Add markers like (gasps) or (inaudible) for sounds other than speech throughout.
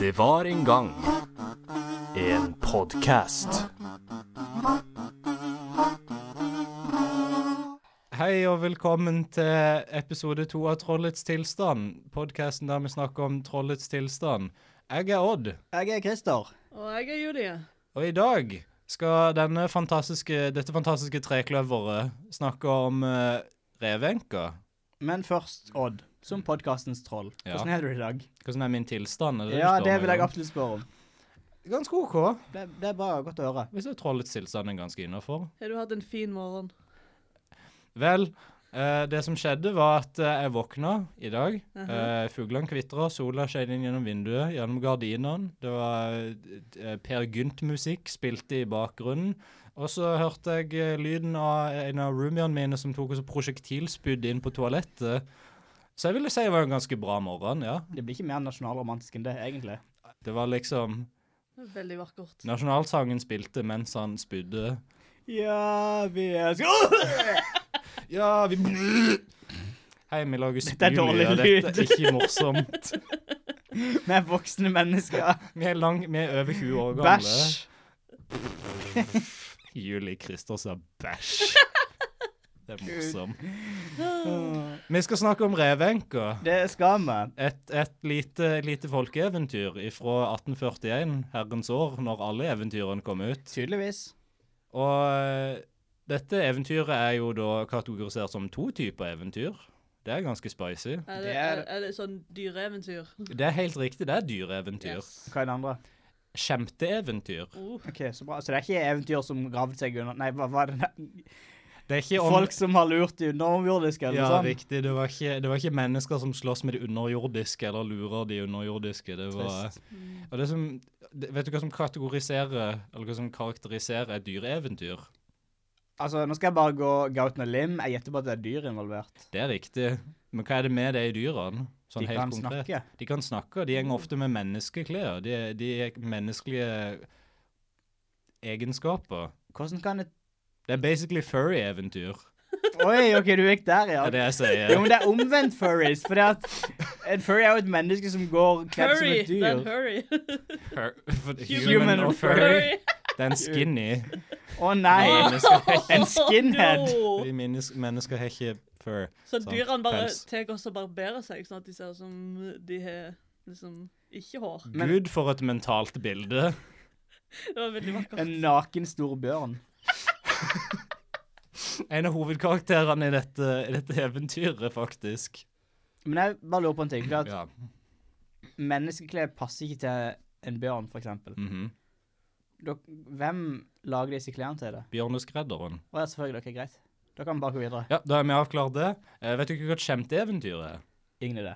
Det var en gang en podkast. Hei og velkommen til episode to av Trollets tilstand. Podkasten der vi snakker om trollets tilstand. Jeg er Odd, Jeg er Christer. Og jeg er Julie. og i dag skal denne fantastiske, dette fantastiske trekløveret snakke om uh, revenka. Men først Odd, som podkastens troll. Mm. Ja. Hvordan er du i dag? Hvordan er min tilstand? Er du Ja, spør det meg vil jeg om? absolutt spørre om. Ganske OK. Det, det er bra godt å høre. Hvis jeg trollets tilstand er ganske innafor. Har du hatt en fin morgen? Vel, eh, det som skjedde var at eh, jeg våkna i dag. Uh Aha. Fuglene kvitra, sola skein inn gjennom vinduet, gjennom gardinene. Det var eh, Per Gynt-musikk spilte i bakgrunnen. Og så hørte jeg eh, lyden av en av roomiene mine som tok også prosjektilskudd inn på toalettet. Så jeg ville si det var en ganske bra morgen, ja. Det blir ikke mer nasjonalromantisk enn det, egentlig. Det var liksom Veldig vakkert. Nasjonalsangen spilte mens han spydde. Ja, vi er (laughs) Åh! Ja, vi Hei, vi lager Dette er dårlig spylyder. Dette er ikke morsomt. Vi er voksne mennesker. Vi er, lang, vi er over 20 år gamle. Bæsj. Julie Christer sa (laughs) bæsj. Det er morsomt. Vi skal snakke om revenka. Det skal vi. Et, et lite, lite folkeeventyr fra 1841, herrens år, når alle eventyrene kom ut. Tydeligvis. Og eh, dette eventyret er jo da kategorisert som to typer eventyr. Det er ganske spicy. (gasps) Er Det det, er- er, er det sånn dyreeventyr? Det er helt riktig, det er dyreeventyr. Yes. Hva er det andre? Skjemteeventyr. Oh, Ok, Så bra. Så det er ikke eventyr som gravde seg under Nei, hva var det Det er ikke om... Folk som har lurt i underjordiske, eller Ja, noe sånt? riktig. Det var, ikke, det var ikke mennesker som slåss med de underjordiske, eller lurer de underjordiske. Det var... Trist. Og det som, det, vet du hva som kategoriserer, eller hva som karakteriserer et dyreeventyr? Altså, nå skal jeg bare gå gå ut med lim. Jeg gjetter på at det er dyr involvert. Det er riktig. Men hva er det med det i dyrene? Sånn De helt kan konkret? snakke. De kan snakke, og de henger ofte med menneskeklær. De, de er menneskelige egenskaper. Hvordan kan et Det er basically furry-eventyr, Oi, OK, du gikk der, ja. er det jeg Jo, (laughs) sier. men det er omvendt furries, for at en furry er jo et menneske som går kledd som Hurry! et Det er en dyr. hurry. Fur, Human human og and furry. Det er en skinny. Å nei! Mennesker, (laughs) En skinhead. Sånn. No. fordi mennesker, mennesker har ikke fur. Så Sant, dyrene bare pels. tar oss og barberer seg, sånn at de ser ut som de har liksom ikke hår. Men- Gud, for et mentalt bilde. Det var veldig vakkert. En naken stor bjørn. En av hovedkarakterene i dette, i dette eventyret, faktisk. Men jeg bare lurer på en ting. For at Ja. menneskeklær passer ikke til en bjørn, for eksempel. mhm. Dok- Hvem lager disse klærne til det? Bjørneskredderen. Å ja, selvfølgelig. Dere er greit. Da kan vi bare gå videre. Ja, da er vi avklart det. Eh, vet du ikke hva et skjemteeventyr er? Ingen idé.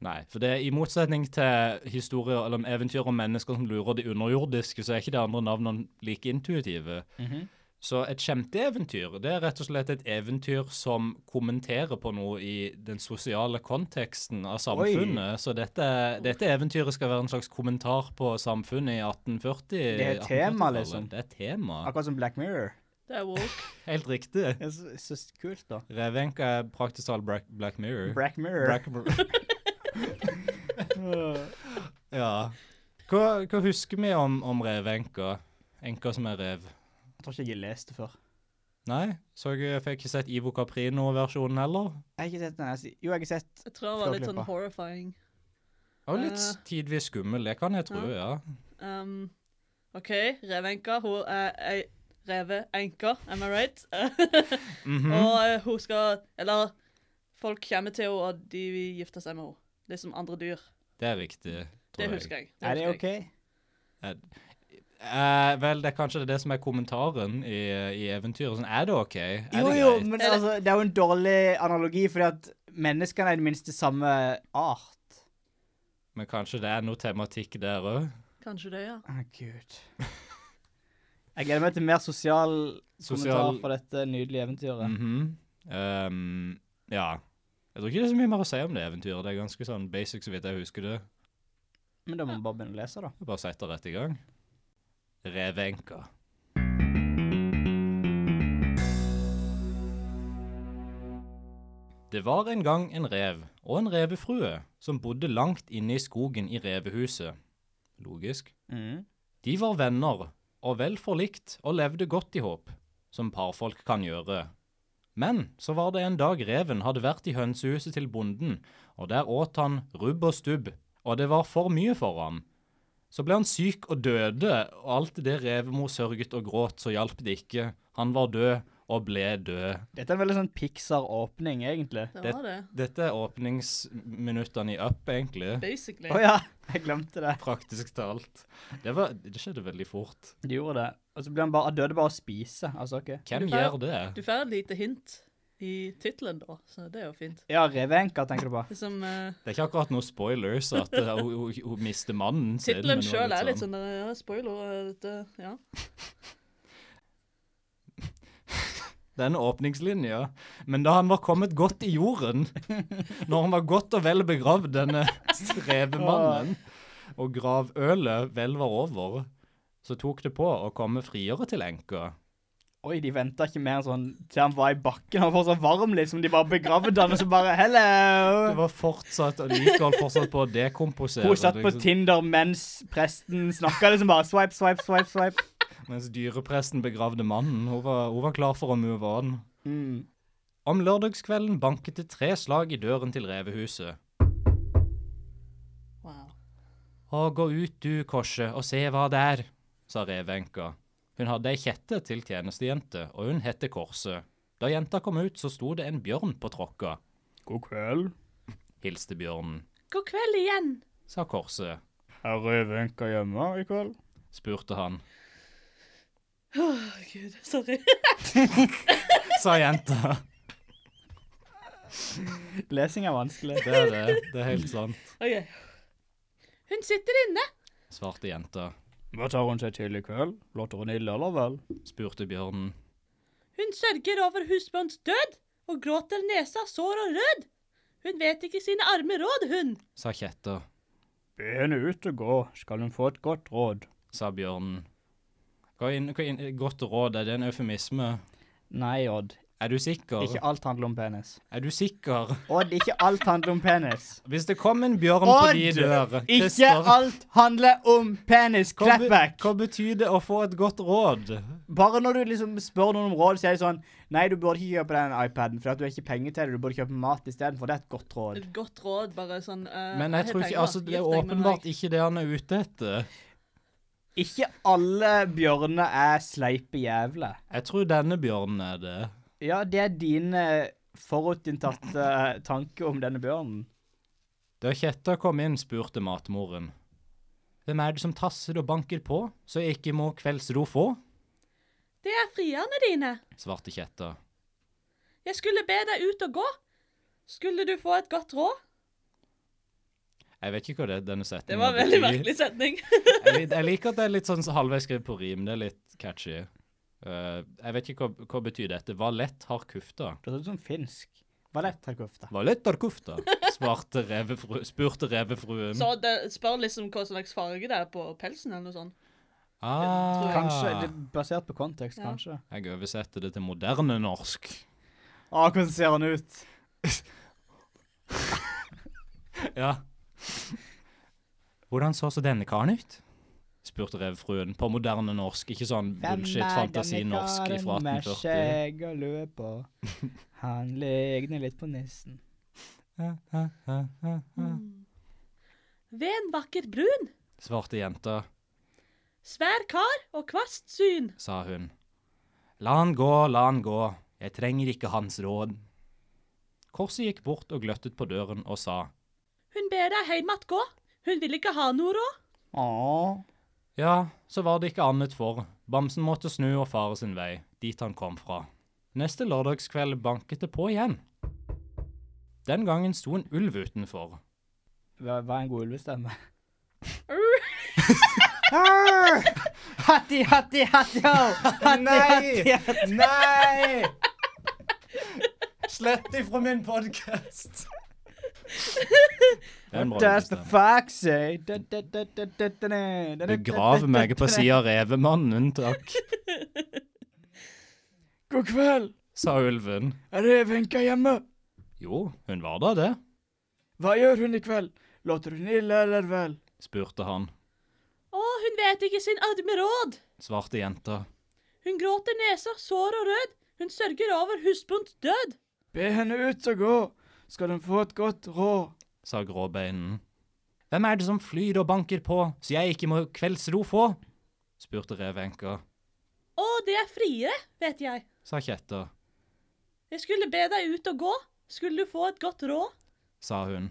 Nei, for det er i motsetning til historier eller eventyr om mennesker som lurer de underjordiske, så er ikke de andre navnene like intuitive. Mhm. Så et skjemteeventyr, det er rett og slett et eventyr som kommenterer på noe i den sosiale konteksten av samfunnet. Så dette, dette eventyret skal være en slags kommentar på samfunnet i 1840. Det er et tema, 1840-tallet. liksom. Det er et tema. Akkurat som Black Mirror. Det er woke. Helt riktig. Det er så, så kult, da. Revenka er praktisk talt Black, Black Mirror. Black Mirror. Black Mirror. (laughs) ja. Hva, hva husker vi om, om revenka? Enka som er rev? Jeg tror ikke jeg leste før. Nei, så jeg fikk ikke sett Ivo Caprino-versjonen heller. Jeg har ikke sett den. jeg si- Jo, jeg har sett Jeg tror det var litt sånn Flåklypa. horrifying. Og litt Eh. tidvis skummel, det kan jeg tro, Mm. ja. Um, OK, revenka. Hun er ei reveenke, am I right? (laughs) Mhm. Og eh, hun skal Eller folk kommer til henne, og de vil gifte seg med henne. Litt som andre dyr. Det er viktig, tror Det jeg. husker jeg. Er det husker OK? jeg. Eh, vel, det er kanskje det som er kommentaren i, i eventyret. Sånn, er det OK? Er Jo, det jo, greit? men Er det- altså, det er jo en dårlig analogi, fordi at menneskene er i det minste samme art. Men kanskje det er noe tematikk der òg? Kanskje det, ja. Å, gud. (laughs) Jeg gleder meg til mer sosial, Sosial- Mm. kommentar fra dette nydelige eventyret. um, Mhm. ja. Jeg tror ikke det er så mye mer å si om det eventyret. Det er ganske sånn basic, så vidt jeg husker det. Men da må vi bare begynne å lese, da. Jeg bare setter rett i gang. Revenka. Det var en gang en rev og en revefrue som bodde langt inne i skogen i revehuset. Logisk. Mm. De var venner og vel forlikt og levde godt i håp, som parfolk kan gjøre. Men så var det en dag reven hadde vært i hønsehuset til bonden, og der åt han rubb og stubb, og det var for mye for ham. Så ble han syk og døde, og alt det revemor sørget og gråt, så hjalp det ikke. Han var død og ble død. Dette er en veldig sånn Pixar-åpning, egentlig. Det var det. Dette er åpningsminuttene i Up, egentlig. Basically. Å ja, (laughs) jeg glemte det. Praktisk talt. Det, var, det skjedde veldig fort. Du gjorde det. Og så ble han bare, han døde bare av å spise. Altså, ok. Hvem Du får- gjør det? Du får et lite hint i tittelen, da, så det er jo fint. Ja, revenka, tenker du på. Liksom, eh, Det er ikke akkurat noe spoilers at eh, hun, hun, hun mister mannen sin. men Tittelen hun sjøl er litt sånn eh, ja, spoiler. eh, Dette, ja. Det er en åpningslinje. Men da han var kommet godt i jorden, når han var godt og vel begravd, denne strevemannen, og gravølet vel var over, så tok det på å komme friere til enka. Oi, de venta ikke mer sånn til han var i bakken. Han var fortsatt varm, liksom. De bare begravde han, og så bare Det hello! var fortsatt, og Michael fortsatt på å dekomposere. Hun satt på liksom. Tinder mens presten snakka, liksom bare swipe, swipe, swipe. swipe. Mens dyrepresten begravde mannen. Hun var, hun var klar for å move on. Mm. Om lørdagskvelden banket det tre slag i døren til revehuset. Wow. Å, gå ut du, Korset, og se hva det er, sa revenka. Hun hadde ei kjette til tjenestejente, og hun hette Korset. Da jenta kom ut, så sto det en bjørn på tråkka, God kveld. hilste bjørnen, God kveld igjen. sa Korset, Er revenka hjemme i kveld? spurte han, Åh, Gud, sorry. sa jenta. Lesing er vanskelig. Det er det, det er helt sant, (laughs) Ok. Hun sitter inne. svarte jenta, Hva tar hun seg til i kveld? Låter hun ille, eller vel? spurte bjørnen, Hun sørger over husbånds død og gråter nesa sår og rød. Hun vet ikke sine arme råd, hun. sa kjetta, Be henne ut og gå, skal hun få et godt råd. sa bjørnen. Hva er inn- hva er inn- godt råd, er det en eufemisme? Nei, Odd. Er du sikker? Ikke alt handler om penis. Er du sikker? Odd, ikke alt handler om penis. Hvis det kom en bjørn på de dører, Ikke Christer- alt handler om penis. Hva, Clap be- back. hva betyr det å få et godt råd? Eh, Bare når du liksom spør noen om råd, så er det sånn Nei, du burde ikke kjøpe den iPaden, for at du har ikke penger til det. Du burde kjøpe mat istedenfor. Det er et godt råd. Et godt råd, bare sånn eh, Men jeg hei, tror ikke, penger, altså, det er gift deg med åpenbart meg. ikke det han er ute etter. Ikke alle bjørner er sleipe jævler. Jeg tror denne bjørnen er det. Ja, det er dine forutinntatte tanker om denne bjørnen. Da kjetta kom inn, spurte matmoren. Hvem er det som tasser og banker på, så jeg ikke må kveldsro få? Det er frierne dine. svarte kjetta. Jeg skulle be deg ut og gå. Skulle du få et godt råd? Jeg vet ikke hva det denne setningen Det var en veldig betyr. merkelig setning. (laughs) Jeg, lik- jeg liker at det er litt sånn halvveis skrevet på rim. Det er litt catchy. Eh, jeg vet ikke hva, hva betyr dette. Hva lett har kufta? Det høres ut som finsk. Hva lett har kofta? Hva lett har kufta? (laughs) Svarte revefru, spurte revefruen. Så det spør liksom hva slags farge det er på pelsen eller noe sånt. Ah. Kanskje, det er Basert på kontekst, Ja. kanskje. Jeg oversetter det til moderne norsk. Å, hvordan ser han ut? (laughs) Ja. Hvordan så så denne karen ut? spurte revfruen på moderne norsk, ikke sånn bullshit-fantasi-norsk fra 1840. skjegg og lue på? Han ligner litt på nissen. Ved en vakker brun, Svarte jenta, svær kar og kvast syn. sa hun. La han gå, la han gå, jeg trenger ikke hans råd. Korset gikk bort og gløttet på døren og sa, Hun ber deg heim att gå. Hun vil ikke ha noe råd. Åh. Ja, så var det ikke annet for. Bamsen måtte snu og fare sin vei, dit han kom fra. Neste lørdagskveld banket det på igjen. Den gangen sto en ulv utenfor. Hva hva er en god ulvestemme? (laughs) Arr. Hatti, hatti, hatti, ho! Hatti, hatti, hatti. Nei! Slett ifra min podkast! What does the fox say? Da, da, da, da, da, da, da, da, da, Begrav da, da, meg da, på da. sida av revemannen, takk, God kveld! sa ulven. Er det Wenche hjemme? Jo, hun var da det, Hva gjør hun i kveld? Låter hun ille, eller vel? spurte han. Hun vet ikke sin arme råd. Svarte jenta. Hun gråter nesa, sår og rød. Hun sørger over husbonds død. Be henne ut og gå, skal hun få et godt råd. sa gråbeinen. Hvem er det som flyr og banker på, så jeg ikke må kveldsro få? spurte revenka, Å, det er friere, vet jeg. sa kjetta, Jeg skulle be deg ut og gå. Skulle du få et godt råd? sa hun.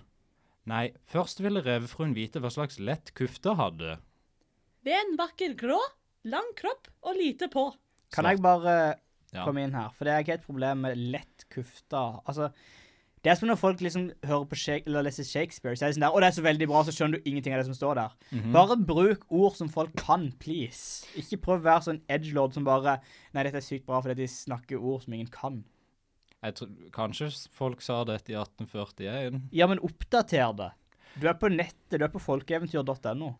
Nei, først ville revefruen vite hva slags lett kufta hadde. Ved en vakker grå, lang kropp og lite på. Kan jeg bare Ja. komme inn her? For det er ikke et problem med lett kufta. Altså, det er som når folk liksom hører på Shake, eller leser Shakespeare, så er det sånn der, og det er så veldig bra, så skjønner du ingenting av det som står der. Bare bruk ord som folk kan, please. Ikke prøv å være sånn edgelord som bare, nei, dette er sykt bra fordi de snakker ord som ingen kan. Jeg tro, kanskje s- folk sa dette i 1841. Ja, men oppdater det. Du er på nettet, du er på folkeeventyr.no.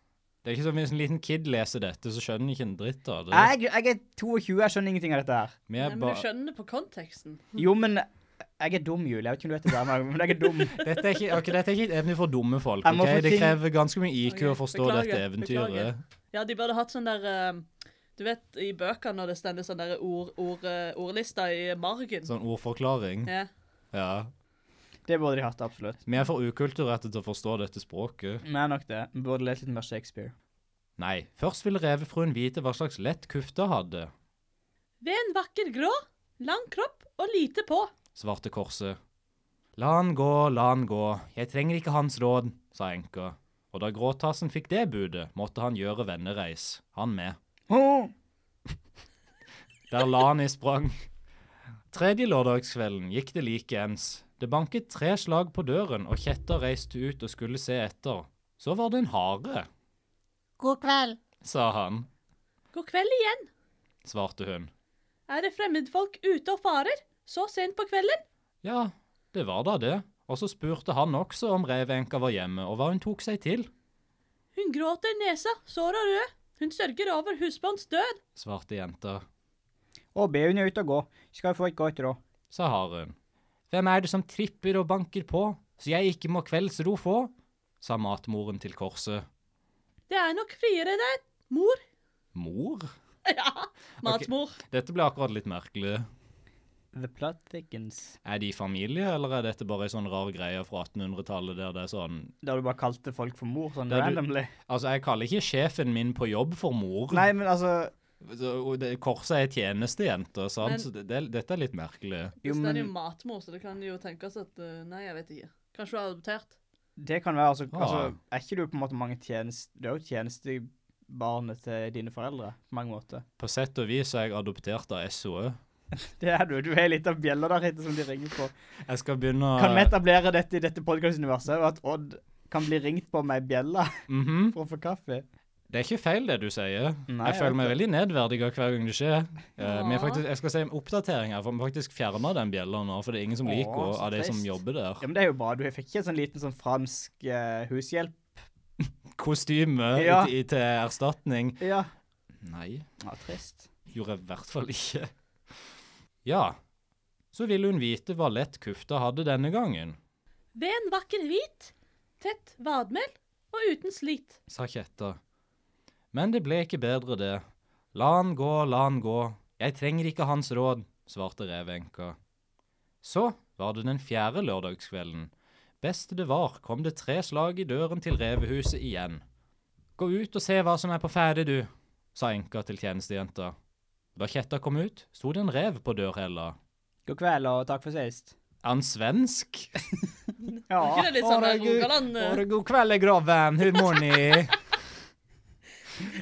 Det er ikke som hvis en liten kid leser dette, så skjønner han ikke en dritt av det. Jeg, jeg er 22, jeg skjønner ingenting av dette her. Vi Nei, er men ba du skjønner det på konteksten. Jo, men jeg er dum, Julie. Jeg vet ikke om du vet det, der, men jeg er dum. dette, er ikke, ok, dette er ikke et eventyr for dumme folk. Jeg må ok? få Det ting- krever ganske mye IQ å Ok, forstå beklager, dette eventyret. beklager. Ja, de burde hatt sånn der eh, Du vet i bøker når det stender sånn der ord, ord, eh, ordlista i margen? Sånn ordforklaring. Ja. Ja. Det burde de hatt, absolutt. Vi er for ukulturerte til å forstå dette språket. Vi er nok det. Vi burde lese litt mer Shakespeare. Nei, først ville revefruen vite hva slags lett kufta hadde, Ved en vakker grå, lang kropp og lite på. svarte korset. La han gå, la han gå, jeg trenger ikke hans råd, sa enka. Og da gråtassen fikk det budet, måtte han gjøre vennereis, han med. Ho! Der Lani sprang. Tredje lørdagskvelden gikk det likeens. Det banket tre slag på døren, og kjetta reiste ut og skulle se etter. Så var det en hare, God kveld. sa han, God kveld igjen. svarte hun. Er det fremmedfolk ute og farer? Så sent på kvelden? Ja, det var da det. Og så spurte han også om revenka var hjemme, og hva hun tok seg til, Hun gråter nesa, sår og rød. Hun sørger over husbonds død. svarte jenta, Og be henne ut og gå. Skal vi få et godt råd. sa haren. Hvem er det som tripper og banker på, så jeg ikke må kveldsro få, sa matmoren til korset. Det er nok friere der, mor. (laughs) Mor? Ja, matmor. Dette ble akkurat litt merkelig. The plot thickens. Er de familie, eller er dette bare ei sånn rar greie fra 1800-tallet der det er sånn Da du bare kalte folk for mor, sånn Da du- (laughs) randomly. Altså, jeg kaller ikke sjefen min på jobb for mor. Nei, men altså Så, og det, korset er tjenestejente, sant, Men- så det, det, dette er litt merkelig. Jo, Hvis det er jo men matmor, så det kan jo tenkes at eh, Nei, jeg vet ikke. Kanskje hun er adoptert? det kan være altså, Ja. altså Er ikke du på en måte mange tjeneste... Du er jo tjenestebarnet til dine foreldre på mange måter. På sett og vis er jeg adoptert av SOE. Det er du. Du er litt av bjella der ute som de ringer på. Jeg skal begynne å Kan vi etablere dette i dette podcast-universet, og at Odd kan bli ringt på med ei bjelle Mhm. (laughs) for å få kaffe? Det er ikke feil, det du sier. Nei, jeg jeg føler vet meg det. veldig nedverdiga hver gang det skjer. Eh, men jeg, Ja. faktisk, jeg skal si en oppdatering her, for vi faktisk fjerna den bjella nå. For det er ingen som Åh, liker henne så av de som trist. jobber Ja, der. men det er jo bra. Du fikk ikke en sånn liten sånn fransk eh, hushjelp? Kostyme (laughs) Ja. i- i- til erstatning. Ja. Nei, ja trist. gjorde jeg i hvert fall ikke. Ja, så ville hun vite hva lett kufta hadde denne gangen, Ved en vakker hvit, tett vadmel og uten slit. sa kjetta. Men det ble ikke bedre, det. La han gå, la han gå. Jeg trenger ikke hans råd, svarte revenka. Så var det den fjerde lørdagskvelden. Best det var, kom det tre slag i døren til revehuset igjen. Gå ut og se hva som er på ferde, du, sa enka til tjenestejenta. Da kjetta kom ut, sto det en rev på dørhella. God kveld, og takk for sist. Er han svensk? Ja. Ikke det litt sånn der Rogaland eh, god kveld, graven. Hur mår ni?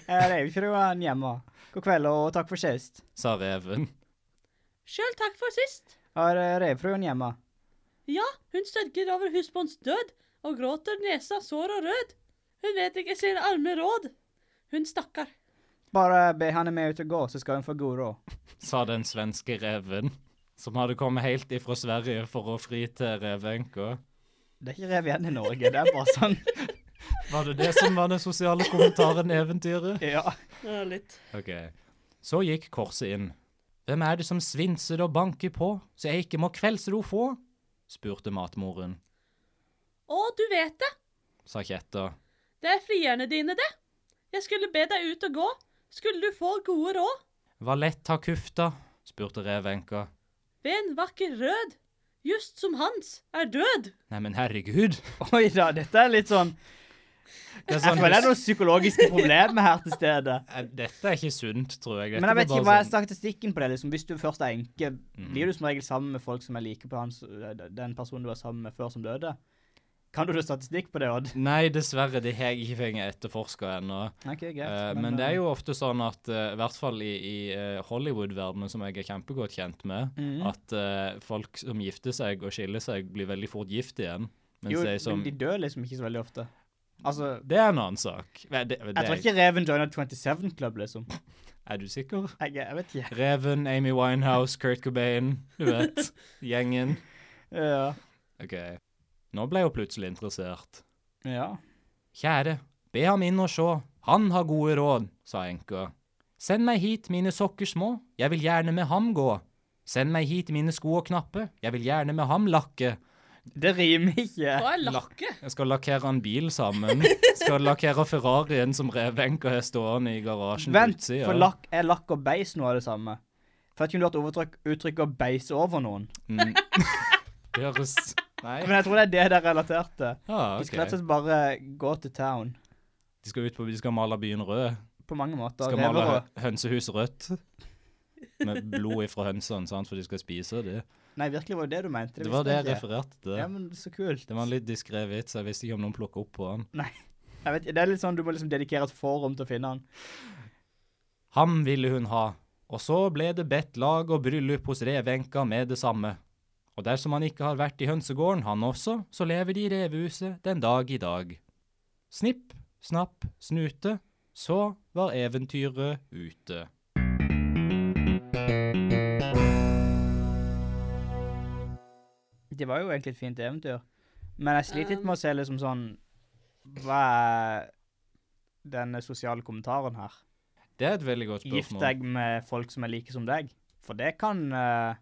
Er reivfruen Eh, hjemme? God kveld, og takk for sist. sa reven. Sjøl takk for sist. Er eh, reivfruen hjemme? Ja, hun sørger over husbonds død og gråter nesa sår og rød. Hun vet ikke sine arme råd. Hun stakkar. Bare be henne med ut og gå, så skal hun få god råd. Sa den svenske reven, som hadde kommet helt ifra Sverige for å fri til revenka. Det er ikke rev igjen i Norge, det er bare (laughs) sånn. Var det det som var den sosiale kommentaren i eventyret? Ja. Ja, litt. Ok. Så gikk korset inn. Hvem er det som svinser og banker på, så jeg ikke må kveldsro få? spurte matmoren, Å, du vet det. sa kjetta. Det er frierne dine, det. Jeg skulle be deg ut og gå. Skulle du få gode råd? Hva lett har kufta? spurte revenka. Ven vakker rød, just som hans, er død. Neimen, herregud. Oi da, dette er litt sånn Det er Jeg sånn, føler det er noen psykologiske problemer her til stede. Eh, Dette er ikke sunt, tror jeg. Dette Men jeg vet var ikke hva bare Mm. er statistikken på det. liksom. Hvis du først er enke, blir du som regel sammen med folk som er like på hans, den personen du var sammen med før som døde? Kan du noe statistikk på det, Odd? sånn- Nei, dessverre. Det har jeg ikke fått etterforska ennå. Ok, greit. Eh, men det er jo ofte sånn at, eh, i hvert fall i, i eh, Hollywood-verdenen, som jeg er kjempegodt kjent med, Mhm. at eh, folk som gifter seg og skiller seg, blir veldig fort gift igjen. Mens Jo, de som de dør liksom ikke så veldig ofte. Altså Det er en annen sak. Nei, Det, det, Jeg tror ikke Reven joiner 27 Club, liksom. Er du sikker? Jeg, jeg vet ikke. Reven, Amy Winehouse, Kurt Cobain, du (laughs) vet. Gjengen. Ja. OK. Nå ble hun plutselig interessert. ja. Kjære, be ham inn og sjå, han har gode råd, sa enka. Send meg hit mine sokker små, jeg vil gjerne med ham gå. Send meg hit mine sko og knappe, jeg vil gjerne med ham lakke. Det rimer ikke. Hva er lakke? Jeg skal lakkere en bil sammen. Skal lakkere Ferrarien som revenka har stående i garasjen på Vent, utsida. for lakk, er lakk og beis noe av det samme? For jeg kunne hørt overtrykk, uttrykk å beise over noen. Mm. Det høres Nei. Men jeg tror det er det det er relatert til. Ah, De skal rett og ok. slett bare gå til town. De skal ut på, de skal male byen rød. På mange måter. Skal Rever male og- hø- hønsehus rødt. Med blod ifra hønsene, sant, for de skal spise det. Nei, virkelig var det det du mente. Det var det jeg visste ikke. refererte til. Ja, men så kult. Det var en litt diskré vits. Jeg visste ikke om noen plukka opp på han. Jeg vet, det er litt sånn du må liksom dedikere et forum til å finne han. Ham ville hun ha, og så ble det bedt lag og bryllup hos revenka med det samme. Og dersom han ikke har vært i hønsegården, han også, så lever de i revehuset den dag i dag. Snipp, snapp, snute, så var eventyret ute. Det var jo egentlig et fint eventyr. Men jeg sliter litt med å se liksom sånn Hva er den sosiale kommentaren her? Det er et veldig godt Gift spørsmål. deg med folk som er like som deg. For det kan eh,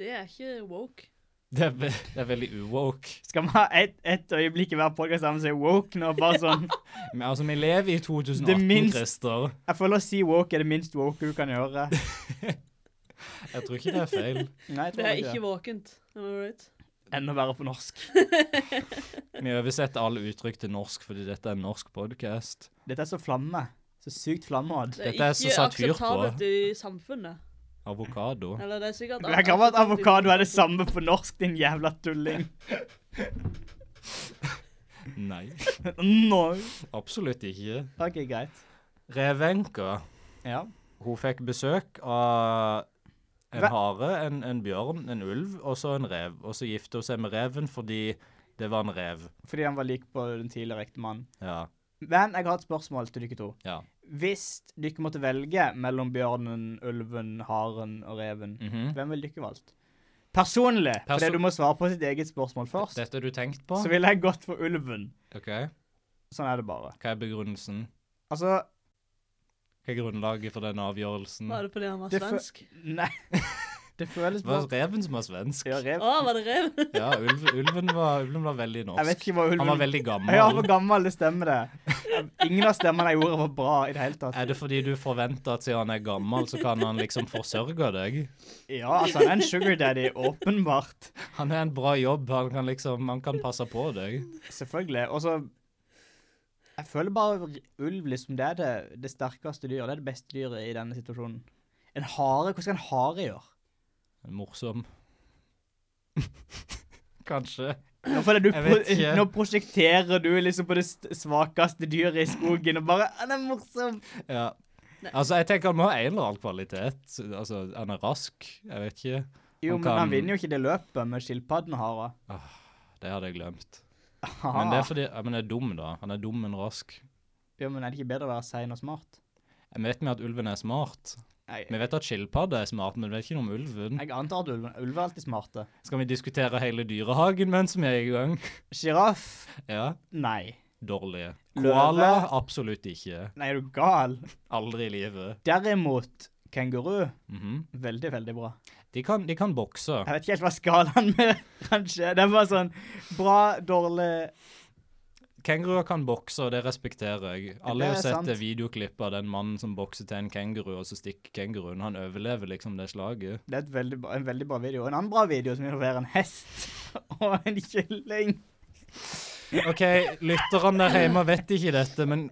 Det er ikke woke. Det er, ve det er veldig uwoke. Skal vi ha et, et øyeblikk i hver podkast sammen som er woke nå? Bare sånn Men altså, vi lever i 2018, Det minst- Christer. Jeg føler å si woke er det minst woke du kan gjøre. Jeg tror ikke det er feil. Nei, jeg Det tror er ikke ikke det. våkent. Am I right? Enda verre på norsk. Vi oversetter alle uttrykk til norsk fordi dette er en norsk podkast. Dette er så flamme. Så sykt flammeodd. Det Dette er er så ikke satt fyr på. akseptabelt i samfunnet. Avokado. Eller det er sikkert Jeg kan være at avokado er det samme på norsk, din jævla tulling. Nei, No. absolutt ikke. (laughs) OK, greit. Revenka, Ja. hun fikk besøk av en Hva- hare, en, en bjørn, en ulv og så en rev. Og så gifte hun seg med reven fordi det var en rev. Fordi han var lik på den tidligere ektemannen. Ja. Men jeg har et spørsmål til dere to. ja. Hvis dere måtte velge mellom bjørnen, ulven, haren og reven, Mhm. hvem ville dere valgt? Personlig, fordi Perso- du må svare på sitt eget spørsmål først, Dette har du tenkt på? så ville jeg gått for ulven. OK. Sånn er det bare. Hva er begrunnelsen? Altså, Hva er grunnlaget for den avgjørelsen? Var det fordi han var Det fø- svensk? Nei. Det (laughs) føles Det var bare reven som var svensk. ja, Å, rev. var det rev? (laughs) (laughs) Ja, ulv, ulven, var, ulven var veldig norsk. Jeg vet ikke hva ulven Han var veldig gammel. Ja, hvor gammel det stemmer det. Ingen av stemmene jeg gjorde, var bra i det hele tatt. Er det fordi du forventer at siden han er gammel, så kan han liksom forsørge deg? Ja, altså, han er en sugar daddy, åpenbart. Han har en bra jobb, han kan liksom Han kan passe på deg. Selvfølgelig. Og så Jeg føler bare ulv liksom, det er det, det sterkeste dyret. Det er det beste dyret i denne situasjonen. En hare? Hva skal en hare gjøre? Morsom. (laughs) Kanskje. Nå, føler jeg du Jeg vet pro- ikke. nå prosjekterer du liksom på det st- svakeste dyret i skogen og bare «Ah, 'Den er morsom'. Ja. Altså, jeg tenker han må ha en eller annen kvalitet. Altså, han er rask. Jeg vet ikke. Jo, Han men kan- han vinner jo ikke det løpet med skilpadden og hare. Det hadde jeg glemt. Men Ah. det er fordi ja, men jeg er dum, da. Han er dum, men rask. Jo, men er det ikke bedre å være sein og smart? Vi vet med at ulven er smart. Nei, Vi vet at skilpadde er smart, men vi vet ikke noe om ulven. jeg antar at ulver, ulver er alltid smarte. Skal vi diskutere hele dyrehagen mens vi er i gang? Sjiraff? Ja. Nei. Dårlige. Løve? Koala? Absolutt ikke. Nei, er du gal? Aldri i livet. Derimot, kenguru, Mhm. veldig, veldig bra. de, kan, de kan bokse. Jeg vet (laughs) ikke helt hva skalaen med kanskje. Det er bare sånn bra, dårlig Kenguruer kan bokse, og det respekterer jeg. Alle Det har er jo sett sant. det videoklippet av den mannen som bokser til en kenguru, og så stikker kenguruen. Han overlever liksom det slaget. Det er et veldig, bra- en veldig bra video. En annen bra video som involverer en hest (laughs) og en kylling. OK, lytterne der hjemme vet ikke dette, men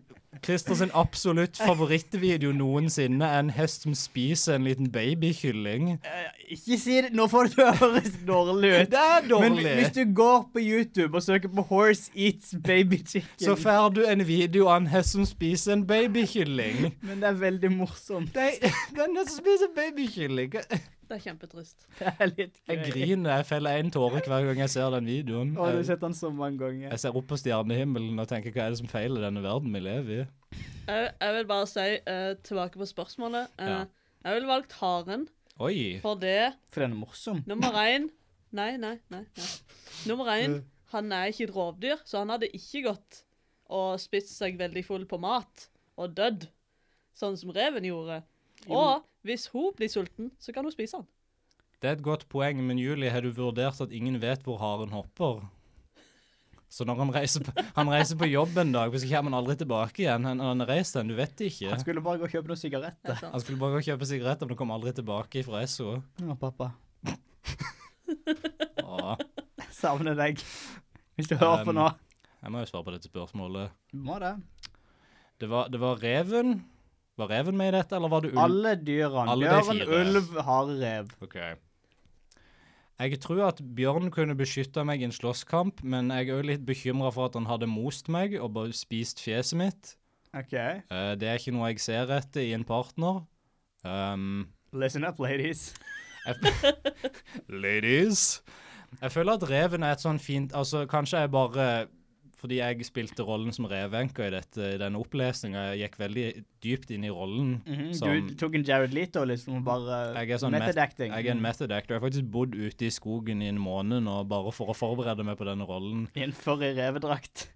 Christer sin absolutt favorittvideo noensinne er en hest som spiser en liten babykylling. Eh, Ikke si det. Nå får det (laughs) høres dårlig ut. Det er Men dårlig! hvis du går på YouTube og søker på 'Horse Eats Baby Chicken' Så får du en video av en hest som spiser en babykylling. Men det er veldig morsomt. Nei, Den som spiser babykylling Det er kjempetrist. Det er litt Jeg gøy. griner, jeg feller en tåre hver gang jeg ser den videoen. Å, du har Jeg- sett den så mange ganger. Jeg ser opp på stjernehimmelen og tenker hva er det som feiler denne verden vi lever i? Jeg, jeg vil bare si, eh, tilbake på spørsmålet eh, Ja. Jeg ville valgt haren, Oi. for det For den er morsom. Nummer én Nei, nei, nei. nei. Nummer én, han er ikke et rovdyr, så han hadde ikke gått og spist seg veldig full på mat og dødd, sånn som reven gjorde. Og hvis hun blir sulten, så kan hun spise han. Det er et godt poeng, men Julie, har du vurdert at ingen vet hvor haren hopper? Så når han reiser på, han reiser på jobb en dag, så kommer han aldri tilbake igjen. Han, han har reist den, du vet det ikke. Han skulle bare gå og kjøpe noen sigaretter. Han skulle bare gå og kjøpe sigaretter, men han kom aldri tilbake fra Esso. Å, pappa. Åh, Jeg savner deg. Hvis du Um, hører på nå. jeg må jo svare på dette spørsmålet. Du må det. Det var, det var reven. Var reven med i dette, eller var det ulv? Alle dyrene. Alle de Bjørn, fire. ulv, harerev. Ok. Jeg tror at Bjørn kunne beskytta meg i en slåsskamp, men jeg er òg litt bekymra for at han hadde most meg og bare spist fjeset mitt. OK. Eh, det er ikke noe jeg ser etter i en partner. Um, Listen up, ladies. jeg, ladies. Jeg føler at reven er et sånn fint Altså, kanskje jeg bare fordi jeg spilte rollen som revenka i, dette, i denne opplesninga, jeg gikk veldig dypt inn i rollen. Mhm, som- Du tok en Jared Leto, liksom, og bare Jeg er, sånn method met- acting. jeg er en method actor. Jeg har faktisk bodd ute i skogen i en måned nå, bare for å forberede meg på denne rollen I en furry revedrakt.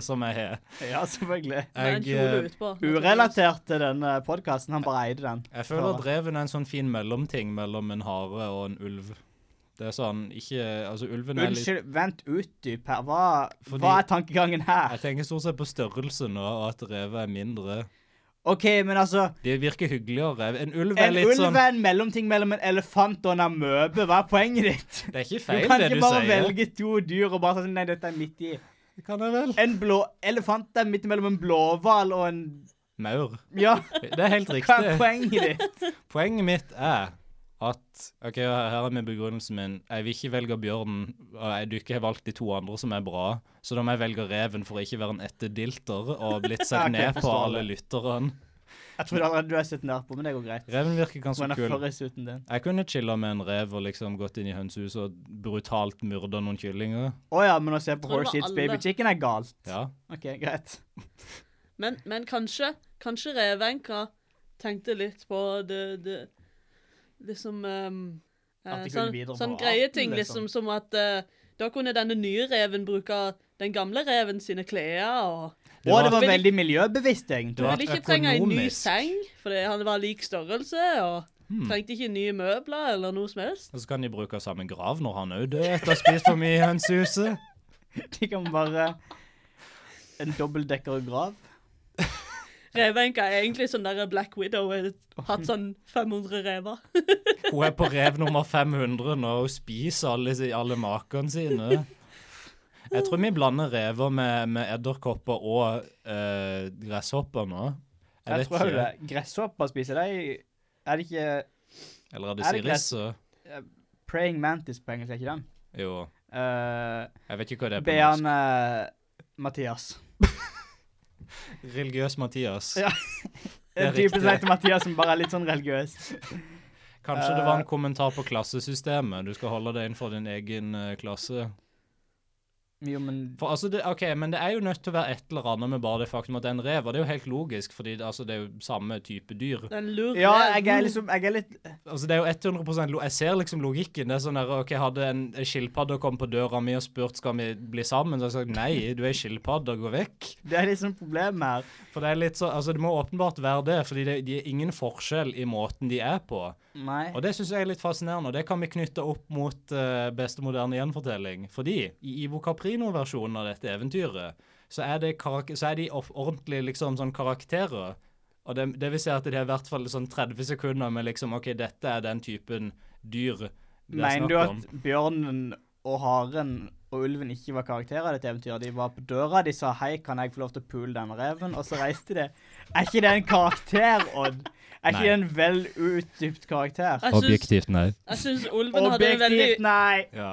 som jeg har. (laughs) Ja, selvfølgelig. Den Jeg, kjole eh, utpå. Urelatert til denne podkasten. Han bare eide den. jeg føler at reven er en sånn fin mellomting mellom en hare og en ulv. Det er sånn ikke Altså, ulven er litt Unnskyld, vent, utdyp her. Hva, Fordi- hva er tankegangen her? Jeg tenker stort sett på størrelsen nå, og at reven er mindre. OK, men altså De virker hyggeligere. En ulv er En ulv litt sånn er en mellomting mellom en elefant og en amøbe. Hva er poenget ditt? Det er ikke Du feil, kan det ikke du bare sier. velge to dyr og bare si sånn, nei, dette er midt i. Kan jeg vel? En blå elefant er midt mellom en blåhval og en Maur. Ja, Det er helt hva er riktig. poenget ditt? Poenget mitt er at ok, Her er min begrunnelse min. Jeg vil ikke velge bjørnen. og Jeg du ikke har valgt de to andre som er bra, så da må jeg velge reven for å ikke være en etterdilter og blitt (laughs) sett Ok, ned på forstår alle lytterne. Jeg trodde allerede du hadde sett nær på, men det går greit. Reven virker ganske Sånn er kul. furrysuten din. Jeg kunne chilla med en rev og liksom gått inn i hønsehuset og brutalt myrda noen kyllinger. Å ja, men å se på Tror det Horse var Eats alle. Baby Chicken er galt. Ja. OK, greit. Men, men kanskje, kanskje revenka tenkte litt på det, det Liksom ehm, eh, At de kunne Sånn, bidra sånn på greie arten, ting, liksom. liksom. Som at eh, da kunne denne nye reven bruke den gamle reven sine klær. og Det og var- det Vil var de- veldig miljøbevisst, Det egentlig. var (laughs) Ville ikke trenge en ny økonomisk. seng, fordi han var lik størrelse. og Trengte ikke nye møbler eller noe som helst. Og så kan de bruke samme grav når han òg dør etter å ha spist for mye i hønsehuset. De kan bare En dobbeltdekker grav. Revenka er egentlig sånn der Black Widow. har Hatt sånn 500 rever. Hun er på rev nummer 500 nå og spiser alle, si- alle makene sine. Jeg tror vi blander rever med, med edderkopper og eh, gresshopper nå. Jeg, vet tror ikke. jo det. Gresshopper spiser de Er det ikke Eller er det Er det gress- sirisser? Praying Mantis på engelsk, er ikke den? Jo. Uh, Jeg vet ikke hva det er på norsk. Beane eh, Mathias. Religiøs Mathias. Ja. Det er Typen riktig. som heter Mathias, som bare er litt sånn religiøs. Kanskje det var en kommentar på klassesystemet. Du skal holde deg innenfor din egen eh, klasse. Jo, men For altså, det, ok, Men det er jo nødt til å være et eller annet med bare det faktum at det er en rev. Og det er jo helt logisk, fordi det, altså, det er jo samme type dyr. Den lurer Ja, jeg er liksom Jeg er litt Altså, det er jo 100 lo Jeg ser liksom logikken. Det er sånn der, ok, Hadde en en skilpadde kommet på døra mi og spurt skal vi bli sammen, så hadde jeg sagt nei, du er skilpadde, gå vekk. Det er liksom problemet her. For Det er litt så, altså det må åpenbart være det, fordi det, det er ingen forskjell i måten de er på. Nei. Og Det syns jeg er litt fascinerende, og det kan vi knytte opp mot eh, beste moderne gjenfortelling. Fordi i Ivo Trino-versjonen av dette eventyret, så er, det karak så er de of- ordentlig liksom sånn karakterer. Og det, det vil si at det er i hvert fall sånn 30 sekunder med liksom OK, dette er den typen dyr det er Mener snakk du om. at bjørnen og haren og ulven ikke var karakterer av dette eventyret? De var på døra, de sa 'hei, kan jeg få lov til å pule den reven', og så reiste de. Er ikke det en karakter, Odd? Er ikke Nei. det en vel utdypt karakter? Jeg syns, Objektivt, nei. jeg syns ulven hadde en veldig Objektivt, nei! Ja.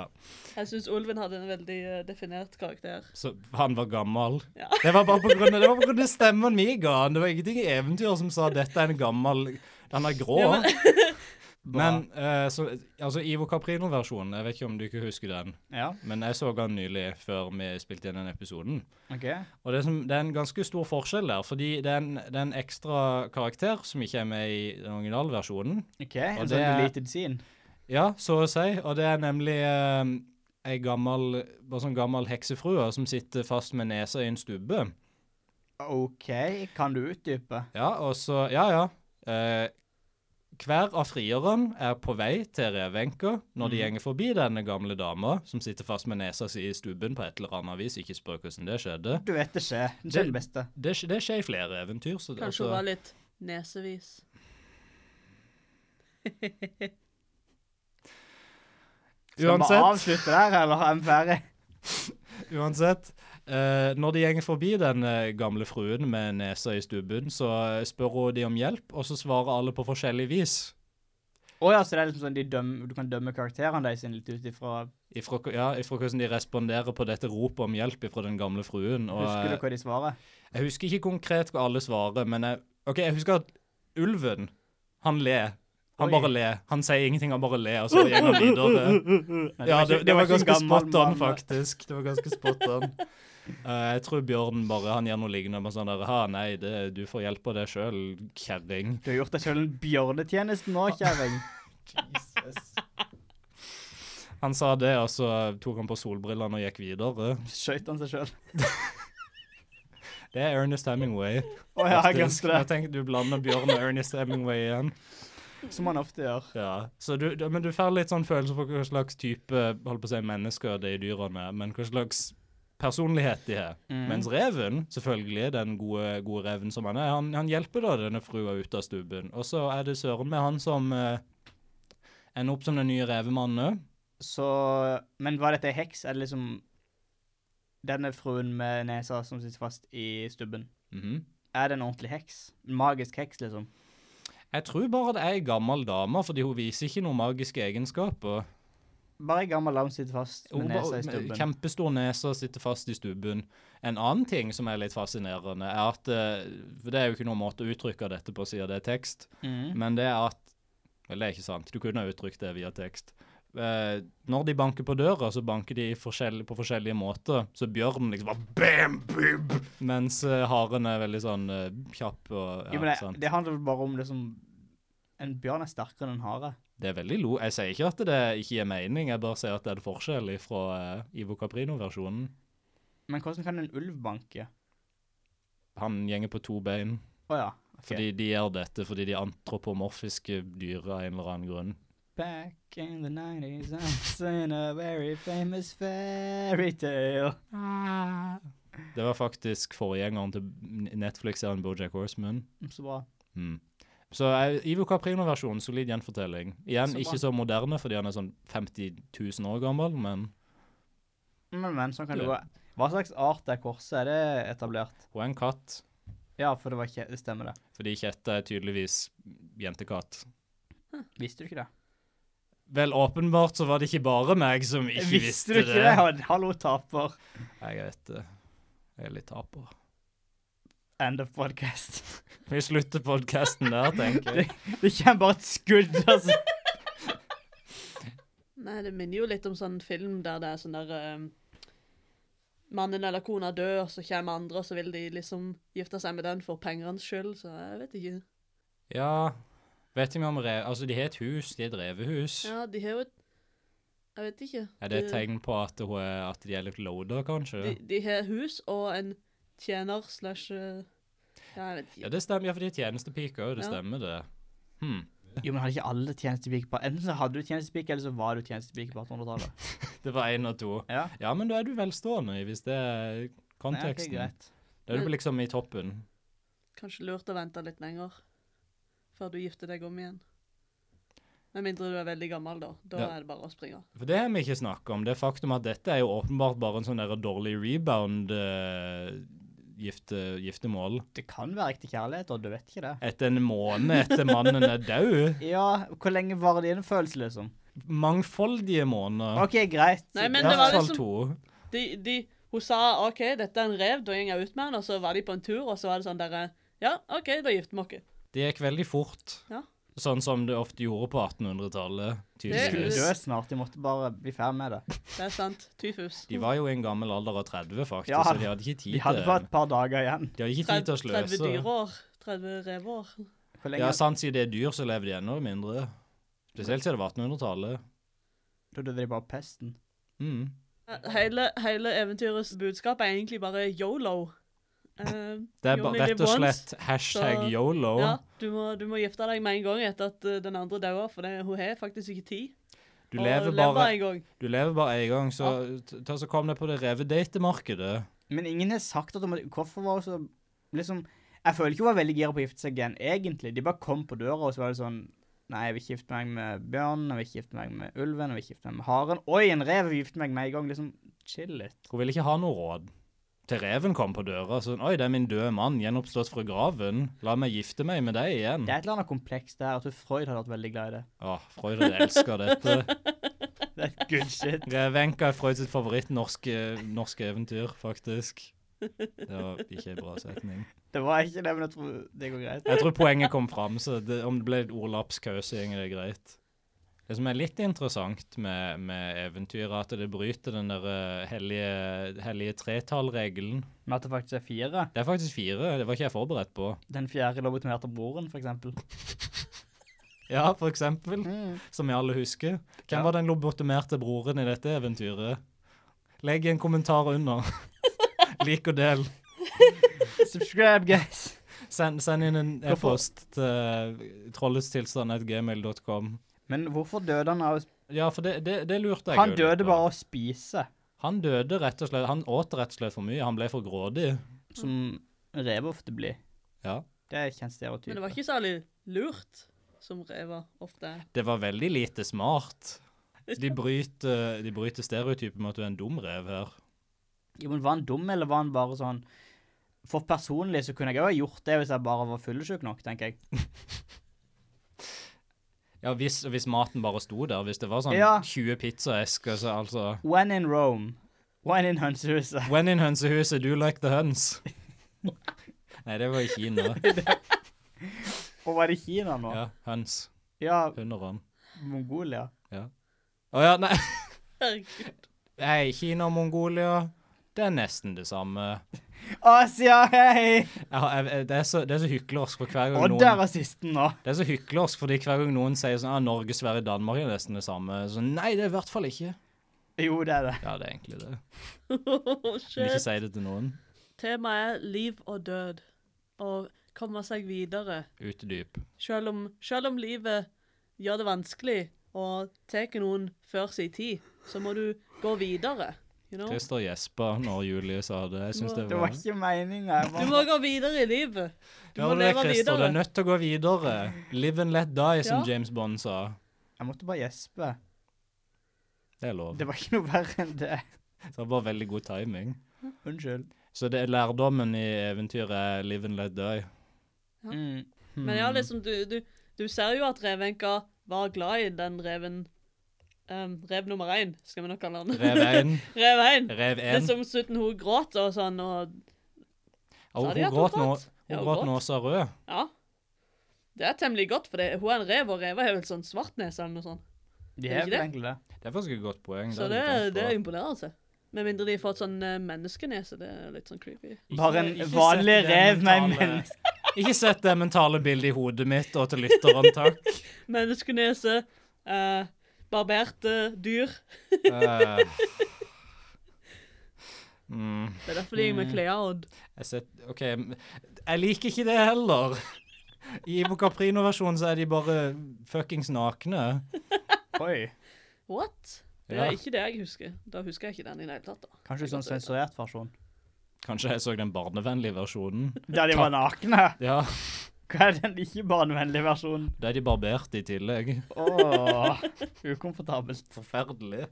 Jeg synes ulven hadde en veldig eh, definert karakter. Så han var gammel. Ja. Det var bare på grunn av, det var på grunn av stemmen min ga han. Det var ingenting i eventyret som sa dette er en gammel Han er grå. Ja, (laughs) men eh, så, altså Ivo Caprino-versjonen, jeg vet ikke om du ikke husker den, Ja, men jeg så den nylig før vi spilte inn den episoden. OK. Og det er, som, det er en ganske stor forskjell der, fordi det er en, det er en ekstra karakter som ikke er med i den originale versjonen. ok, En Og sånn det er- deleted scene. Ja, så å si. Og det er nemlig eh, ei gammel, bare sånn gammel heksefrue som sitter fast med nesa i en stubbe. OK, kan du utdype? Ja, og så Ja, ja. Eh, hver av frierne er på vei til revenka når Mm. de gjenger forbi denne gamle dama som sitter fast med nesa si i stubben på et eller annet vis. Ikke spør hvordan det skjedde. Du vet det skjer. Det Det- skjer det beste. Det, sk- det skjer i flere eventyr. Så det, Kanskje hun var litt nesevis. Skal vi uansett, avslutte der, eller er vi ferdig? uansett eh, når de gjenger forbi den eh, gamle fruen med nesa i stubben, så eh, spør hun de om hjelp, og så svarer alle på forskjellig vis. Å ja, så det er liksom sånn de døm- du kan dømme karakterene deres litt ut ifra Ifra, ja, ifra hvordan de responderer på dette ropet om hjelp fra den gamle fruen. Og, Husker eh, du hva de svarer? Jeg husker ikke konkret hva alle svarer, men jeg, ok, jeg husker at ulven, han ler. Han Oi. bare ler. Han sier ingenting, han bare ler, og så gikk han videre. (laughs) Nei, Ja, ikke- det, det var ikke en ganske gammel spot on, mann, da. faktisk. Det var ganske spot (laughs) on. Eh, jeg tror Bjørn bare han gjør noe lignende med sånn der Ha, nei, det, du får hjelpe deg sjøl, kjerring. Du har gjort deg sjøl en bjørnetjeneste nå, (laughs) kjerring. Han sa det, og så tok han på solbrillene og gikk videre. Skøyt han seg sjøl? Det er Ernest Hemingway. Å ja, jeg faktisk. Jeg glemte det. tenkte du blander Bjørn og Ernest Hemingway igjen. Som han ofte gjør. Ja, så du, du, men du får litt sånn følelse for hva slags type holdt på å si, mennesker de dyrene er, men hva slags personlighet de har. Mens reven, selvfølgelig, den gode, gode reven som han er, han, han hjelper da denne frua ut av stubben. Og så er det søren meg han som eh, ender opp som den nye revemannen. Så Men var dette ei heks? Er det liksom denne fruen med nesa som sitter fast i stubben? Mhm. Er det en ordentlig heks? En magisk heks, liksom? Jeg tror bare det er ei gammel dame, fordi hun viser ikke noen magiske egenskaper. Bare ei gammel lam sitter fast med Hun nesa bare- i med stubben. Kjempestor nese og sitter fast i stubben. En annen ting som er litt fascinerende, er at eh, For det er jo ikke noen måte å uttrykke dette på siden det er tekst, Mm. men det er at Vel, det er ikke sant. Du kunne ha uttrykt det via tekst. Eh, når de banker på døra, så banker de forskjell- på forskjellige måter. Så bjørnen liksom bare bam, bub, mens eh, haren er veldig sånn eh, kjapp og ja, Jo, men det, sant. det handler vel bare om liksom En bjørn er sterkere enn en hare. Det er veldig lo... Jeg sier ikke at det ikke gir mening, jeg bare sier at det er en forskjell fra Ivo Caprino-versjonen. Men hvordan kan en ulv banke? Han gjenger på to bein. Å ja. ok. Fordi de gjør dette fordi de er antropomorfiske dyr av en eller annen grunn. Back in the 90s, I was in a very famous fairytale. Ah. Det var faktisk forgjengeren til Netflix-serien Bojack Horseman. Så bra. Mm. Så er Ivo Caprino-versjonen solid gjenfortelling. Igjen Så bra. ikke så moderne fordi han er sånn 50 000 år gammel, men Men, men, sånn kan det Ja. gå. Hva slags art er korset? Er det etablert? hun er en katt. Ja, for det var ikke Det stemmer, det. Fordi kjetta er tydeligvis jentekatt. Visste du ikke det? Vel, åpenbart så var det ikke bare meg som ikke visste, du ikke det? Odd? Hallo, taper. Nei, Jeg vet det. Jeg er litt taper. End of podcast. (laughs) Vi slutter podkasten der, tenker jeg. Det kommer bare et skudd, altså. Nei, det minner jo litt om sånn film der det er sånn der eh, Mannen eller kona dør, så kommer andre, og så vil de liksom gifte seg med den for pengenes skyld, så jeg vet ikke. Ja Vet ikke om rev... Altså, de har et hus. De er et revehus. Ja, de har jo et Jeg vet ikke. Er det et De- tegn på at, hun er, at de er litt loada, kanskje? De, de har hus og en tjener slash eh, Ja, jeg vet ja, ikke. det stemmer. Ja, for de er tjenestepiker, det Ja. stemmer, det. Hm. Jo, men hadde ikke alle tjenestepike på Enten så hadde du tjenestepike, eller så var du tjenestepike på 1800-tallet. Det var én og to. Ja. Ja, men da er du velstående, hvis det er konteksten. Nei, ok, greit. da er du liksom i toppen. Kanskje lurt å vente litt lenger før du gifter deg om igjen. Med mindre du er veldig gammel, da. Da Ja. er det bare å springe. For det har vi ikke snakket om. Det faktum at dette er jo åpenbart bare en sånn der dårlig rebound eh, gifte, giftemål. Det kan være ekte kjærlighet, og du vet ikke det. Etter en måned etter mannen er død. Ja, hvor lenge varer din følelse, liksom? Mangfoldige måneder. OK, greit. Nei, men I det var hvert fall liksom- to. De, de, hun sa OK, dette er en rev, da går jeg ut med den, og så var de på en tur, og så var det sånn derre Ja, OK, da gifter vi oss. Det gikk veldig fort. Ja. Sånn som det ofte gjorde på 1800-tallet. De skulle tydeligvis. dø snart, de måtte bare bli ferdig med det. Det er sant. Tyfus. De var jo i en gammel alder av 30, faktisk, Ja. så de hadde ikke tid De hadde til bare et par dager igjen. De hadde ikke tid til å 30, sløse. dyreår. 30 reveår. Hvor lenge Ja, sant, siden det er dyr, så lever de enda mindre. Spesielt siden det var 1800-tallet. Da døde de bare av pesten. Mm. Eh, Hele, hele eventyrets budskap er egentlig bare yolo. Eh, Det er You ba- only rett live og once, slett hashtag så- yolo. ja, du må, du må gifte deg med en gang etter at eh, den andre dauer, for det, hun har faktisk ikke tid. Du å lever leve bare en gang. Du lever bare en gang, så, t- ta, så kom deg på det revedatemarkedet. Men ingen har sagt at de må- Hvorfor var hun så Liksom Jeg føler ikke hun var veldig gira på å gifte seg igjen, egentlig. De bare kom på døra, og så var det sånn Nei, jeg vil ikke gifte meg med bjørnen, jeg vil ikke gifte meg med ulven, jeg vil ikke gifte meg med haren. Oi, en rev! Jeg vil gifte meg med en gang. Liksom, chill litt. Hun ville ikke ha noe råd. Til reven kom på døra sånn Oi, det er min døde mann, gjenoppstått fra graven. La meg gifte meg med deg igjen. Det er et eller annet komplekst der. Jeg tror Freud hadde vært veldig glad i det. Å, Freud elsker dette. Det er good shit. Revenka er Freud sitt favoritt norske, norske eventyr, faktisk. Det var ikke en bra setning. Det var ikke det, men jeg tror det går greit. Jeg tror poenget kom fram, så det, om det ble et ordlapskaus, så går det greit. Det som er litt interessant med, med eventyret, er at det bryter den der eh, hellige, hellige tretallregelen. Men at det faktisk er fire. Det er faktisk fire. Det var ikke jeg forberedt på. Den fjerde lå betonert av broren, for eksempel. Ja, for eksempel. Mm. Som vi alle husker. Hvem Ja. var den lobotomerte broren i dette eventyret? Legg en kommentar under. (laughs) Lik og del. (laughs) Subscribe, guys! Send, send inn en Hvorfor- e-post til eh, trolletstilstand.gmail.com. Men hvorfor døde han av Ja, for det, det, det lurte jeg Han jo litt døde på. bare av å spise, Han døde rett og slett, han åt rett og slett for mye. Han ble for grådig. som rev ofte blir. Ja. Det er kjent stereotyp. Men det var ikke særlig lurt, som rever ofte er. Det var veldig lite smart. De bryter, de bryter stereotypen med at du er en dum rev her. Jo, men Var han dum, eller var han bare sånn For personlig så kunne jeg òg gjort det hvis jeg bare var fyllesyk nok, tenker jeg. Ja, hvis, hvis maten bare sto der. Hvis det var sånn Ja. 20 pizzaesker, så altså When in Rome. When in Huntshuset. When in hønsehuset, do like the (laughs) høns. Nei, det var i Kina. Og var det Kina nå? Ja, Ja, høns. Hunderen. Mongolia. Å ja, nei. Herregud. (laughs) nei. Kina og Mongolia, det er nesten det samme. Asia, hei! Jeg, har- jeg, jeg, det er så, det er så hyklersk for hver gang Og der er sisten nå. Det er så hyklersk, fordi hver gang noen sier sånn, ah, Norge, Sverige, Danmark er nesten det samme, så nei, det er i hvert fall ikke. Jo, det er det. Ja, det er egentlig det. Men ikke Shit. si det til noen. Temaet er liv og død. Og komme seg videre. Utedyp. Selv om, selv om livet gjør det vanskelig og tar noen før sin tid, så må du gå videre. You know? Christer gjespa når Julie sa det. Jeg synes det Det var... var ikke meninga. Du må gå videre i livet. Du må Hører du det, leve Christer? Du er videre. nødt til å gå videre. Live and let die, som Ja. James Bond sa. Jeg måtte bare gjespe. Det er lov. Det var ikke noe verre enn det. Det var bare veldig god timing. Unnskyld. Så det er lærdommen i eventyret er live and let die. Mm. Men ja, liksom, du, du, du ser jo at revenka var glad i den reven um, Rev nummer én, skal vi nok kalle den. Rev 1. (laughs) Rev én. Rev Det er 1. som slutten hun gråt og sånn, og Og Sa de hun at hun gråt nå. gråt? Ja, Hun hun gråt gråt. nå, sa rød. ja. Det er temmelig godt, for det, hun er en rev, og rever har vel sånn svartnese eller noe sånt. De har Er det ikke vel det? egentlig det. Det er faktisk et godt poeng. Så hadde det, jeg tenkt det på. er imponerende. Med mindre de får et sånn eh, menneskenese. Det er litt sånn creepy. Bare en Ikke- ikke vanlig sett det rev med en mentale- (laughs) menneske. Ikke sett det mentale bildet i hodet mitt og til lytteren, takk. Menneskenese, eh, barberte dyr. (laughs) Eh. mm. Det er derfor de gikk med Cleod. Jeg, set, ok, men jeg liker ikke det heller. I Ivo Caprino-versjonen så er de bare fuckings nakne. Oi. What? Det Ja. er ikke det jeg husker. Da husker jeg ikke den i det hele tatt. da. Kanskje sånn sensurert versjon. Kanskje jeg så den barnevennlige versjonen. (laughs) Der de var nakne. Ja, Hva er den ikke barnevennlige versjonen? Da er de barbert i tillegg. (laughs) Åh, ukomfortabelt. Forferdelig.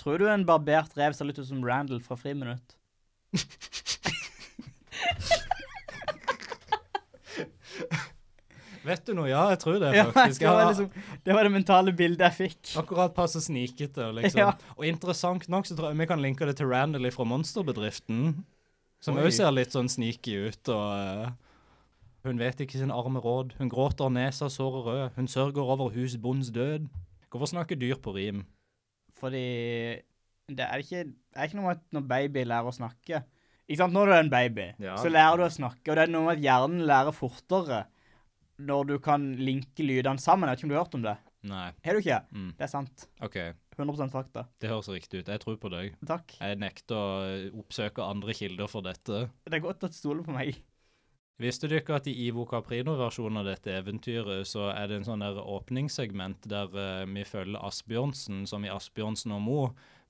Tror du en barbert rev ser litt ut som Randall fra Friminutt? Vet du noe? Ja, jeg tror det, Ja, faktisk. det Jeg var, har liksom, det var det mentale bildet jeg fikk. akkurat passe snikete, liksom. Ja. Og interessant nok så tror jeg vi kan linke det til Randall fra Monsterbedriften, som Oi. òg ser litt sånn sneaky ut. og... eh, hun vet ikke sin arme råd. Hun gråter nesa sår og rød. Hun sørger over husbondens død. Hvorfor snakke dyr på rim? Fordi det er ikke, det er ikke noe med at når baby lærer å snakke. Ikke sant, når du er en baby, Ja. så lærer du å snakke, og det er noe med at hjernen lærer fortere når du kan linke lydene sammen. Jeg vet ikke om du har hørt om det. Nei. Har du ikke? Mm. Det er sant. OK, 100 fakta. det høres riktig ut. Jeg tror på deg. Takk. Jeg nekter å eh, oppsøke andre kilder for dette. Det er godt at du stoler på meg. Visste du ikke at i Ivo Caprino-versjonen av dette eventyret, så er det en sånn der åpningssegment der eh, vi følger Asbjørnsen, som i Asbjørnsen og Mo,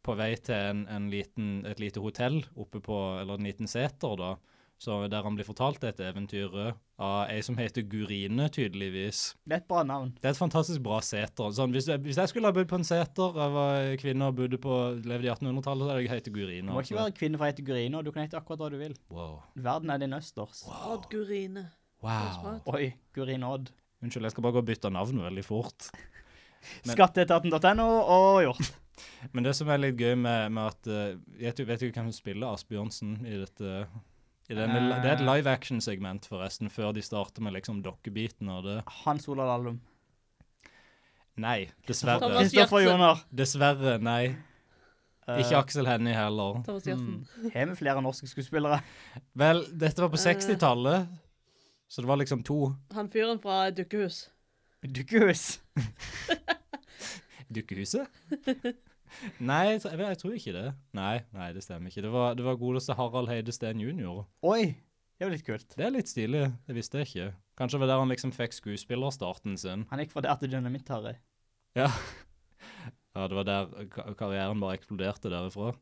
på vei til en, en liten, et lite hotell oppe på, eller en liten seter da, så der han blir fortalt dette eventyret av ei som heter Gurine, tydeligvis. Det er et bra navn. Det er et fantastisk bra seter. Sånn, hvis, jeg, hvis jeg skulle ha bodd på en seter, jeg var kvinne og bodde på, levde i 1800-tallet, så hadde jeg hett Gurine. altså. Du må ikke være kvinne fra å hete Gurine, og du kan hete akkurat hva du vil. Wow. Verden er din østers. Odd Gurine. wow. Oi, Gurine Odd. Unnskyld, jeg skal bare gå og bytte navn veldig fort. Men- Skatteetaten.no og gjort. Men det som er litt gøy med, med at eh, Vet du, vet du hvem som spiller Asbjørnsen i dette i denne, Eh. Det er et live action-segment, forresten, før de starter med liksom dokkebiten og det Hans Olav Allum. Nei, dessverre. Thomas Kristoffer Gjertsen. Joner. Dessverre, nei. Eh, Ikke Aksel Hennie heller. Mm. Thomas Gjertsen. Har vi flere norske skuespillere? Vel, dette var på 60-tallet, så det var liksom to Han fyren fra Dukkehus. Dukkehus. Dukkehuset? (laughs) Nei, jeg, jeg tror ikke det. Nei, nei, det stemmer ikke. Det var, det var godeste Harald Heide Steen jr. Oi, det var litt kult. Det er litt stilig. Det visste jeg ikke. Kanskje det var der han liksom fikk skuespillerstarten sin. Han gikk fra der til Dynamitt-Harry. Ja. (laughs) ja, det var der ka- karrieren bare eksploderte derifra.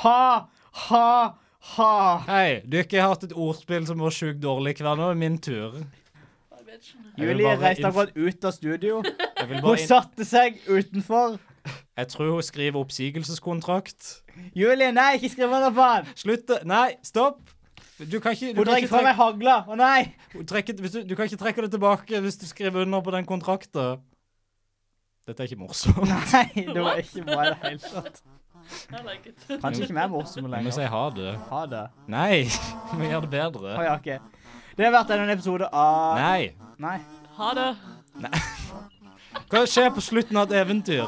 Ha, ha, ha. Ah. Hei, du har ikke hatt et ordspill som var sjukt dårlig hver nå. er det Min tur. Jeg vil Julie bare reiste inf- akkurat ut av studio. Jeg, vil Hun (laughs) bare inn... satte seg utenfor. jeg tror hun skriver oppsigelseskontrakt. Julie, nei, ikke skriv under på han. Slutt det. Nei, stopp! Du kan ikke, du Hun kan drar ikke, fra trekke, meg hagla. Å (laughs) nei. hun trekker- hvis du, du kan ikke trekke det tilbake hvis du skriver under på den kontrakten. Dette er ikke morsomt. Nei, det var ikke bra i det hele tatt. I like it. Kanskje ikke vi er morsomme Jeg må si lenger. ha det. Ha det. Nei, (laughs) vi må gjøre det bedre. Å ja, OK. Det har vært en episode av Nei. Nei. Ha det. Hva skjer på slutten av et eventyr?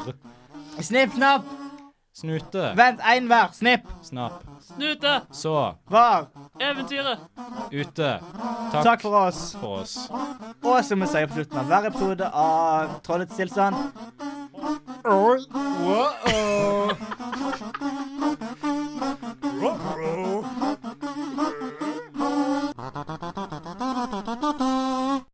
Snipp, snapp. Snute. Vent, én hver. Snipp, Snapp. Snute. Så. var. Eventyret. Ute. Takk for oss. for oss. Og som vi sier på slutten av hver episode av Trollets tilstand Wow.